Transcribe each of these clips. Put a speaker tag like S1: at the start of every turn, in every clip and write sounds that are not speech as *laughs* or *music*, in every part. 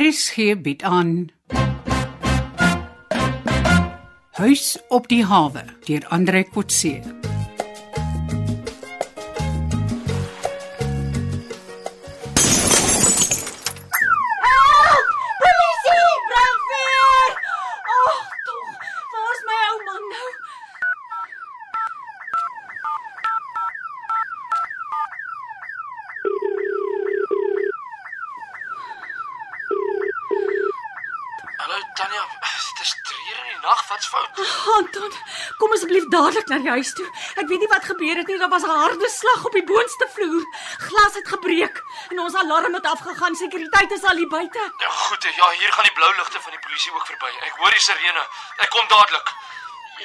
S1: RSG bied aan Huis op die hawe deur Andre Kotse.
S2: Help! Polisie! Brandweer! Ag, tog. Waar's my ou man nou?
S3: Hallo Tanya, *sighs* dit is 3 uur in die nag. Wat's fout?
S2: Anton, kom asseblief dadelik na die huis toe. Ek weet nie wat gebeur het nie. Daar was 'n harde slag op die boonste vloer. Glas het gebreek en ons alarm het afgegaan. Sekuriteit is al hier buite.
S3: Ja, goed, ja, hier gaan die blou ligte van die polisie ook verby. Ek hoor die sirene. Ek kom dadelik.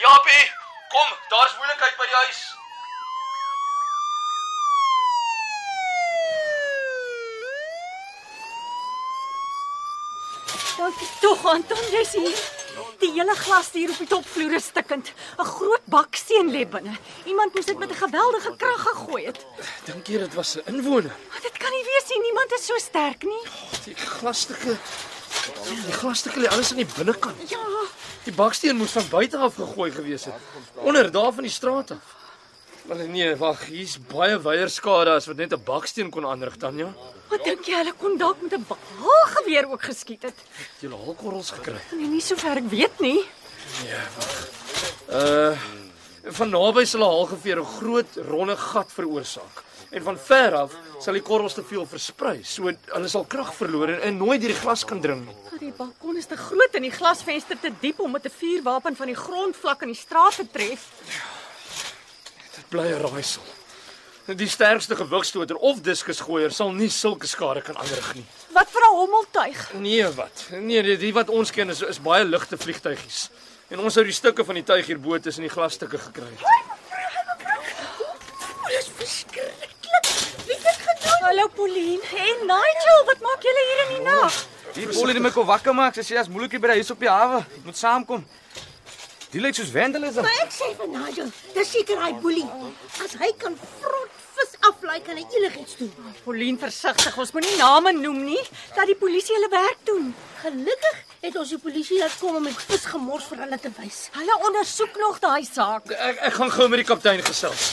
S3: Japie, kom, daar's moeilikheid by die huis.
S2: Dankie tog, Anton, jy's hier. Die hele glasdier op die topvloer is stikkend. 'n Groot bak seën lê binne. Iemand moes dit met 'n geweldige krag gegooi het.
S3: Dink jy dit was 'n inwoner?
S2: Maar dit kan nie wees nie. Niemand is so sterk nie.
S3: Die glasstukke. Die glasstukke lê alles aan die binnekant.
S2: Ja,
S3: Die baksteen moes van buite af gegooi gewees het. Onder daar van die straat af. Maar nee, wag, hier's baie weierskade as wat net 'n baksteen kon aanrig, Tanya.
S2: Wat dink jy hulle kon dalk met 'n baalgeweer ook geskiet het?
S3: Het jy haalkorrels gekry?
S2: Nee, nie sover ek weet nie.
S3: Uh van naby sal 'n haalgeveer 'n groot ronde gat veroorsaak. En van ver af sal die korrels te veel versprei, so hulle sal krag verloor en, en nooit deur die glas kan dring nie.
S2: Maar die balkon is te groot en die glasvenster te diep om met 'n vuurwapen van die grondvlak in die straat te tref.
S3: Dit bly 'n raaisel. Die sterkste gewigstoter of diskusgooier sal nie sulke skade kan aanrig nie.
S2: Wat vir 'n hommeltuig.
S3: Nee, wat? Nee, die, die wat ons ken is is baie ligte vliegtygies. En ons het die stukke van die tuig hier bo tussen die glasstukke gekry.
S2: Dis verskriklik. Wie het dit gedoen? Hallo Pauline en Nigel, wat maak julle hier in die nag?
S4: Die polie het my kom wakker maak. Sy sê "Ja, daar's moeilikheid by die huis op die hawe. Moet saamkom. Die lyk soos vandalisme.
S5: Maar ek sê vir Nigel, dis seker hy boelie. As hy kan vrot vis aflaai kan hy enigiets doen.
S2: Pauline, versigtig, ons moenie name noem nie dat die polisie hulle werk doen.
S5: Gelukkig het ons die polisie laat kom om die vis gemors vir hulle te wys.
S2: Hulle ondersoek nog daai saak.
S3: Ek ek gaan gou met die kaptein gesels.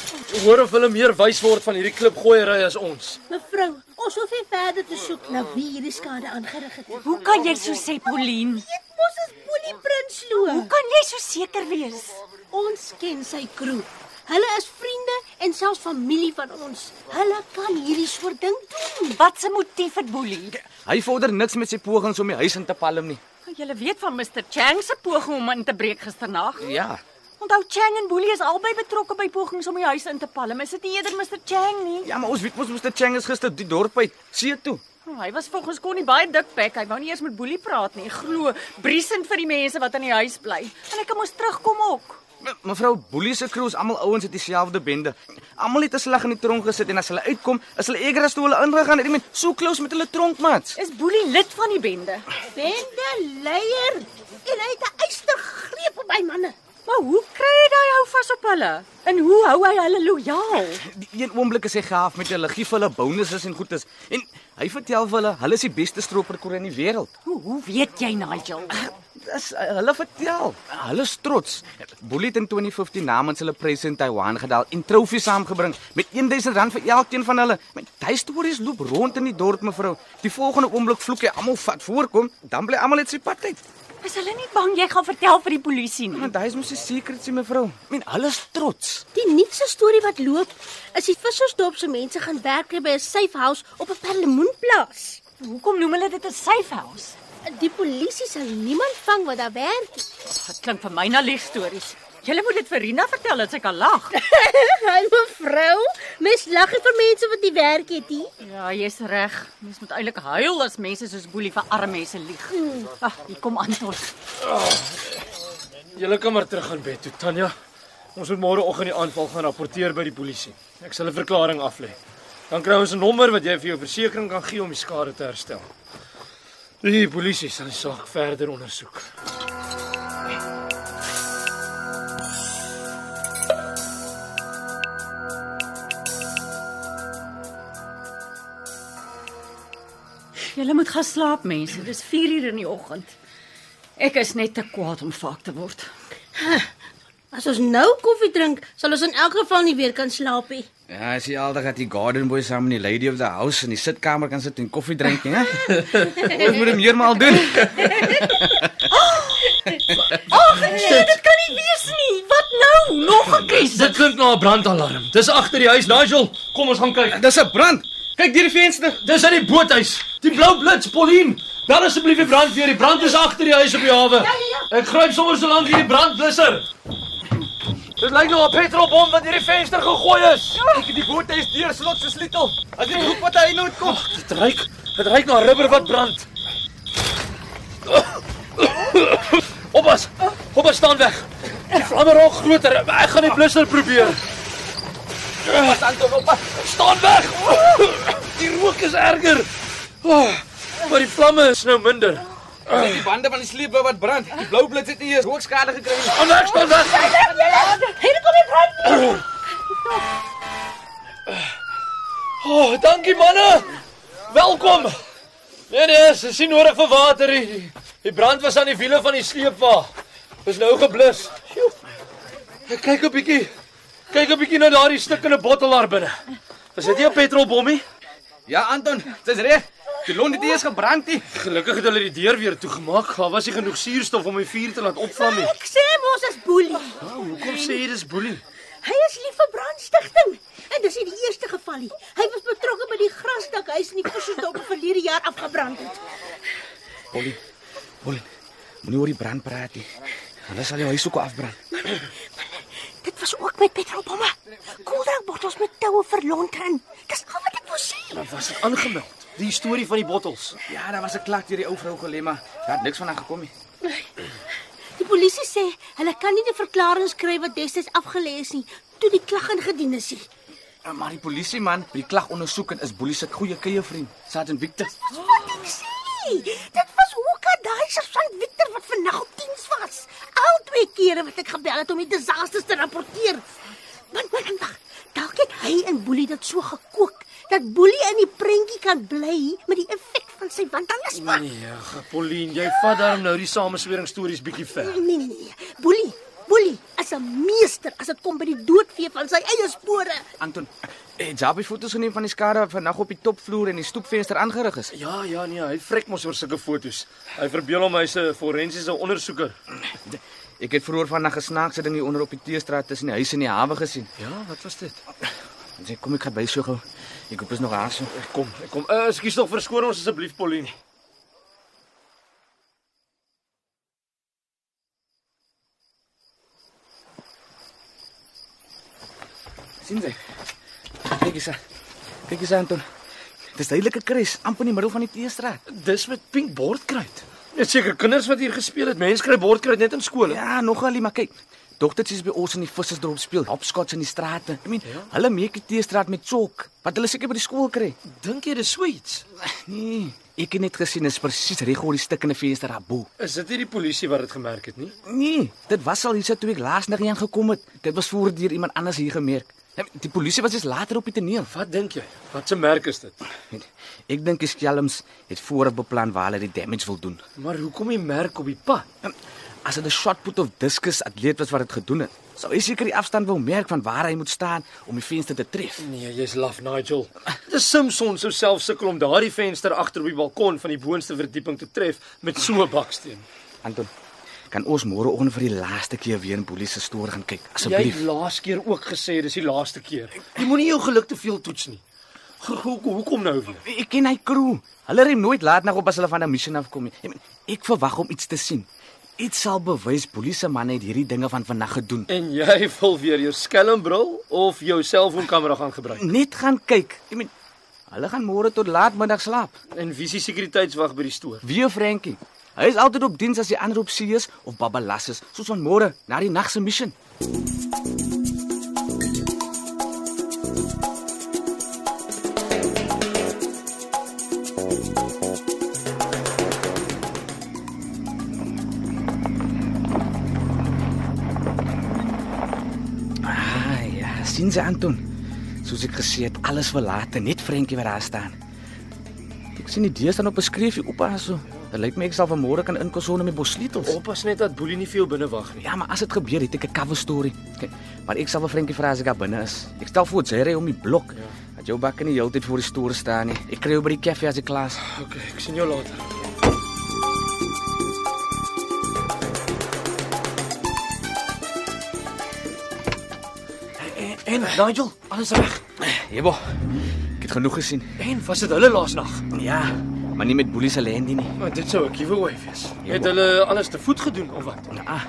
S3: Hoor of hulle meer wys word van hierdie klipgooiery as ons.
S5: Mevrou, ons hoef nie verder te soek na wie hierdie skade aangerig het nie.
S2: Hoe kan jy so sê, Pauline?
S5: Dit mos is Boelie Prinsloo.
S2: Hoe kan jy so seker wees?
S5: Ons ken sy kroeg. Hulle is vriende en selfs familie van ons. Hulle kan hierdie soort ding doen.
S2: Wat se motief het Boelie?
S4: Hy vorder niks met sy pogings om die huis in te palm nie.
S2: Julle weet van Mr Chang se poging om in te breek gisternag.
S4: Ja.
S2: Onthou Chang en Boelie is albei betrokke by pogings om die huis in te palm. Is dit nie eerder Mr Chang nie?
S4: Ja, maar ons weet mos Mr Chang is gister die dorp uit see toe.
S2: Oh, hy was volgens kon nie baie dikbek. Hy wou nie eers met Boelie praat nie. Glo, briesend vir die mense wat in die huis bly. En hy kan mos terugkom ook.
S4: Me- Mevrou Boelie se crew is almal ouens uit dieselfde bende. Almal het 'n slag in die tronk gesit en as hulle uitkom, is hulle eerder as toe hulle ingegaan het. Ek meen, so close met hulle tronkmaats.
S2: Is Boelie lid van die bende?
S5: Bende leier en hy het 'n eystergreep op hy manne.
S2: Maar hoe kry hy daai hou vas op hulle? En hoe hou hy hulle lojaal?
S4: Die een oomblik is hy gaaf met hulle, gee vir hulle bonusse en goedes. En hy vertel vir hulle, hulle is die beste stroperkoer in die wêreld.
S2: Hoe, hoe weet jy, Nigel?
S4: Dis uh, hulle vertel. Hulle is trots. Bullet in 2015 namens hulle pryse in Taiwan gedaal en trofees saamgebring met R1000 vir elkeen van hulle. Met daai stories loop rond in die dorp mevrou. Die volgende oomblik vloek hy almal vat voorkom, dan bly almal net sy pad uit.
S2: Is hulle nie bang jy gaan vertel vir die polisie nie?
S4: Want hy is mos 'n secret sê mevrou. Ek meen hulle is trots.
S5: Die nuutste storie wat loop, is die vissersdorp se mense gaan werk kry by 'n safe house op 'n perlemoenplaas.
S2: Hoekom noem hulle dit 'n safe house?
S5: Die polisie sal niemand vang wat daar werk nie. *laughs*
S2: Dit klink vir my na leegstories. Jy moet dit vir Rina vertel dat sy kan lag.
S5: Hy mevrou, mens lag nie vir mense wat nie werk het nie.
S2: *laughs* Ja, jy's reg. Mens moet eintlik huil as mense soos Boelie vir arme mense lieg. Ag, hier kom Anton.
S3: Julle kan maar terug gaan bed toe, Tanya. Ons moet môreoggend die aanval gaan rapporteer by die polisie. Ek sal 'n verklaring aflê. Dan kry ons 'n nommer wat jy vir jou versekerings kan gee om die skade te herstel. Die polisie sal die saak verder ondersoek.
S2: Julle moet gaan slaap mense. Dis 4:00 in die oggend. Ek is net te kwaad om vaak te word.
S5: As ons nou koffie drink, sal ons in elk geval nie weer kan slaap nie.
S4: Ja, as jy aldag dat die garden boy saam met die lady of the house in die sitkamer kan sit en koffie drink, hè? Ons moet dit meer maal doen.
S2: Ag nee, dit kan nie wees nie. Wat nou? Nog 'n krisis.
S3: Dit klink na 'n brandalarm. Dis agter die huis, Nigel. Kom ons gaan kyk.
S4: Dis 'n brand. Kyk deur die venster.
S3: Dis uit die boothuis. Die blou blits, Polien. Bel asseblief die brandweer. Die brand is agter die huis op die hawe. Ek gryp sommer so lank hierdie brandblusser. Dit lyk nou 'n petrolbom wat deur die venster gegooi is.
S4: Ek het die boothuis deur slot gesleutel. As dit hoek wat hy nou kom.
S3: Dit ruik, dit ruik na rubber wat brand. Oppas. Oppas staan weg. Die vlamme raak groter. Ek gaan die blusser probeer.
S4: Pas aan toe op.
S3: Staan weg. Die rook is erger. Oh, maar die vlamme is nou minder.
S4: Die bande van die sleepbou wat brand. Die blou blits het nie eens rookskade gekry nie.
S3: Kom weg, staan weg.
S5: Hier kom die brand.
S3: Oh, dankie manne. Welkom. Nee nee, dit is nie nodig vir water nie. Die brand was aan die wiele van die sleepwa. Dis nou geblus. Sjoe. Ek kyk 'n bietjie. Kyk 'n bietjie na daardie stukkende bottel daar binne. Is dit nie 'n petrolbommie?
S4: Ja, Anton, dis reg. Die lont het nie eens gebrand nie.
S3: Gelukkig het hulle die deur weer toegemaak. Daar was nie genoeg suurstof om die vuur te laat opvlam nie.
S5: Ek sê mos as boelie.
S3: Nou, hoekom sê jy dis boelie?
S5: Hy is lief vir brandstigting. En dis nie die eerste geval nie. Hy was betrokke by die grasdakhuis in die Kushusdorp verlede jaar afgebrand het.
S4: Polly. Polly. Moenie oor die brand praat nie. Hulle sal jou huis ook afbrand.
S5: Dit was ook met petrolbomme. Koeldrankbottels met toue verlont in. Dis al wat ek
S2: nou
S5: wou sê.
S3: Dan was dit aangemeld. Die storie van die bottels.
S4: Ja, daar was 'n klak deur die ou vrou Golema. Daar het niks van haar gekom nie.
S5: Die polisie sê hulle kan nie 'n verklaring skryf wat destyds afgelê is nie toe die klag ingedien is nie.
S4: Ja, Maar die polisieman, die klag ondersoek en is Boelie se goeie kye vriend, Sergeant Victor.
S5: Dis wat ek sê. Dit was ook aan daai sergeant Victor wat vandag op diens was. Al twee kere wat ek gebel het om die disasters te rapporteer. Want wag, wag. Dalk het hy en Boelie dit so gekook dat Boelie in die prentjie kan bly met die effek van sy vandalisme.
S3: Nee, ag, Pauline, jy vat daarom nou die sameswering stories bietjie ver.
S5: Nee, nee, nee. Boelie, Boelie is 'n meester as dit kom by die doodvee van sy eie spore.
S4: Anton, het Jabi Eh, foto's geneem van die skade wat vandag op die topvloer en die stoepvenster aangerig is.
S3: Ja, ja, nee, hy vrek mos oor sulke foto's. Hy verbeel hom hy's 'n forensiese ondersoeker.
S4: Ek het vroeër vandag gesnaakse ding hier onder op die teestraat tussen die huis en die hawe gesien.
S3: Ja, wat was dit?
S4: Ons sê kom ek gaan by so gou. Ek koop is nog haas.
S3: Ek kom, ek kom. Uh, ekskuus tog, verskoon ons asseblief, Pauline.
S4: sien jy? Kyk eens. aan. Kyk eens aan, Anton. Dis duidelik 'n kruis amper in die middel van die teestraat.
S3: Dis met pink bordkruid. Net seker kinders wat hier gespeel het. Mense kry bordkruid net in skole.
S4: Ja, nogal nie, maar kyk. Dogtertjies by ons in die vissersdorp speel hopskots in die strate. I mean, ja? hulle maak die teestraat met sok wat hulle seker by die skool kry.
S3: Dink jy dis so iets?
S4: Nee, ek het net gesien is presies reg oor die stukkende venster daar bo.
S3: Is dit nie die polisie wat dit gemerk het nie?
S4: Nee, dit was al hier so toe ek laas nog heen gekom het. Dit was voor deur iemand anders hier gemerk. Die polisie was eens later op die toneel.
S3: Wat dink jy? Wat se merk is dit?
S4: Ek dink die skelms het vooraf beplan waar hulle die damage wil doen.
S3: Maar hoekom die merk op die pad?
S4: As dit 'n shotput of diskus atleet was wat dit gedoen het, sou hy seker die afstand wou merk van waar hy moet staan om die venster te tref.
S3: Nee, jy's laf, Nigel. Dis Simpson sou self sukkel om daardie venster agter op die balkon van die boonste verdieping te tref met so 'n baksteen.
S4: Anton, kan ons môreoggend vir die laaste keer weer in Boelie se stoor gaan kyk,
S3: Jy
S4: asseblief?
S3: het laas keer ook gesê dis die laaste keer. Jy moenie jou geluk te veel toets nie. Ho- ho- Hoekom nou weer?
S4: Ek ken hy crew. Hulle rem nooit laat nag op as hulle van 'n missie af kom nie. Ek, meen, ek verwag om iets te sien. Dit sal bewys Boelie se man het hierdie dinge van vandag gedoen.
S3: En jy wil weer jou skelmbril of jou selfoonkamera gaan gebruik.
S4: Net gaan kyk. Ek meen, hulle gaan môre tot laatmiddag slaap.
S3: En visie sekuriteitswag by die stoor.
S4: Wie Frankie? Hy is altyd op diens as die ander op see is of babalas is, soos vanmôre na die nag se missie. Ah ja, sien jy Anton? Soos ek gesê het, alles verlate, net Frankie wat daar staan. Ek sien die deur staan op 'n skreefie op haar so. Dit lyk my ek sal vanmôre kan inkos sonder met bossleutels.
S3: Oppas net dat Boelie nie vir jou binne wag nie.
S4: Ja, maar as dit gebeur, het ek 'n cover story. Kyk, maar ek sal vir Frankie vra as ek daar binne is. Ek stel voor sy ry om die blok. Ja. Dat jou bak nie heeltyd voor die store staan nie. Ek kry jou by die koffie as ek klaar is.
S3: OK, ek sien jou later. En, en eh, Nigel, alles reg?
S4: Jebo. Ek het genoeg gesien.
S3: En was dit hulle laas nag?
S4: Ja, maar nie met boelie se landie nie.
S3: Maar dit sou 'n giveaway wees. Het hulle alles te voet gedoen of wat?
S4: Ah,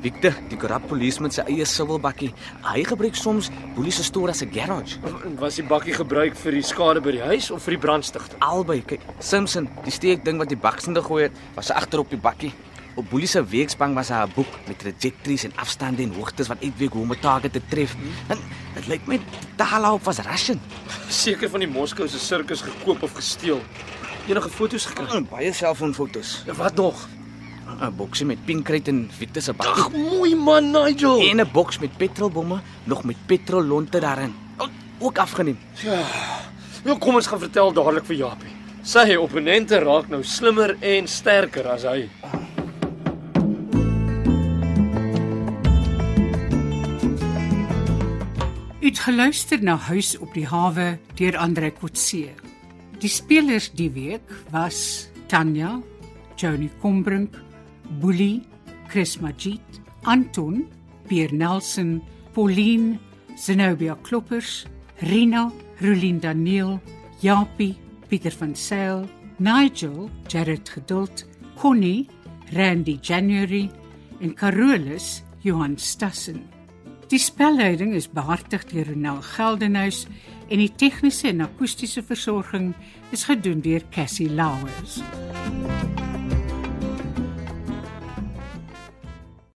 S4: Victor, die korrup polisie met sy eie sibbelbakkie. Hy gebruik soms boelie se store as 'n garage.
S3: Was die bakkie gebruik vir die skade by die huis of vir die brandstigting?
S4: Albei, kyk, Simpson, die steek ding wat die baksende gooi het, was agter op die bakkie. Op boelie se weekspang was haar boek met trajectories en afstande en hoogtes wat uitweek hoe om 'n target te tref. En dit lyk my Dalop was Russian.
S3: Seker van die Moskou se sirkus gekoop of gesteel. Enige foto's gekry?
S4: En Oh, baie selfoonfoto's.
S3: Wat nog?
S4: Ah, 'n Boksie met pinkkruit en Victor se bakkie.
S3: Ag, mooi man Nigel.
S4: En 'n boks met petrolbomme, nog met petrollonte daarin. Ook- Ook afgeneem.
S3: Nou kom ons gaan vertel dadelik vir Japie. Sy opponente raak nou slimmer en sterker as hy.
S1: U het geluister na Huis op die hawe deur Andre Kotse. Die spelers die week was Tanya, Johnny Combrink, Boelie, Chris Magid, Anton, Pierre Nelson, Pauline, Zenobia Kloppers, Rina, Rulien Daniel, Japie, Pieter van Sail, Nigel, Jared Geduld, Connie, Randy January en Carolus Johan Stassen. Die spelleiding is behartig deur Ronald Geldenhuys en die tegniese en akoestiese versorging is gedoen deur Cassie Lauers.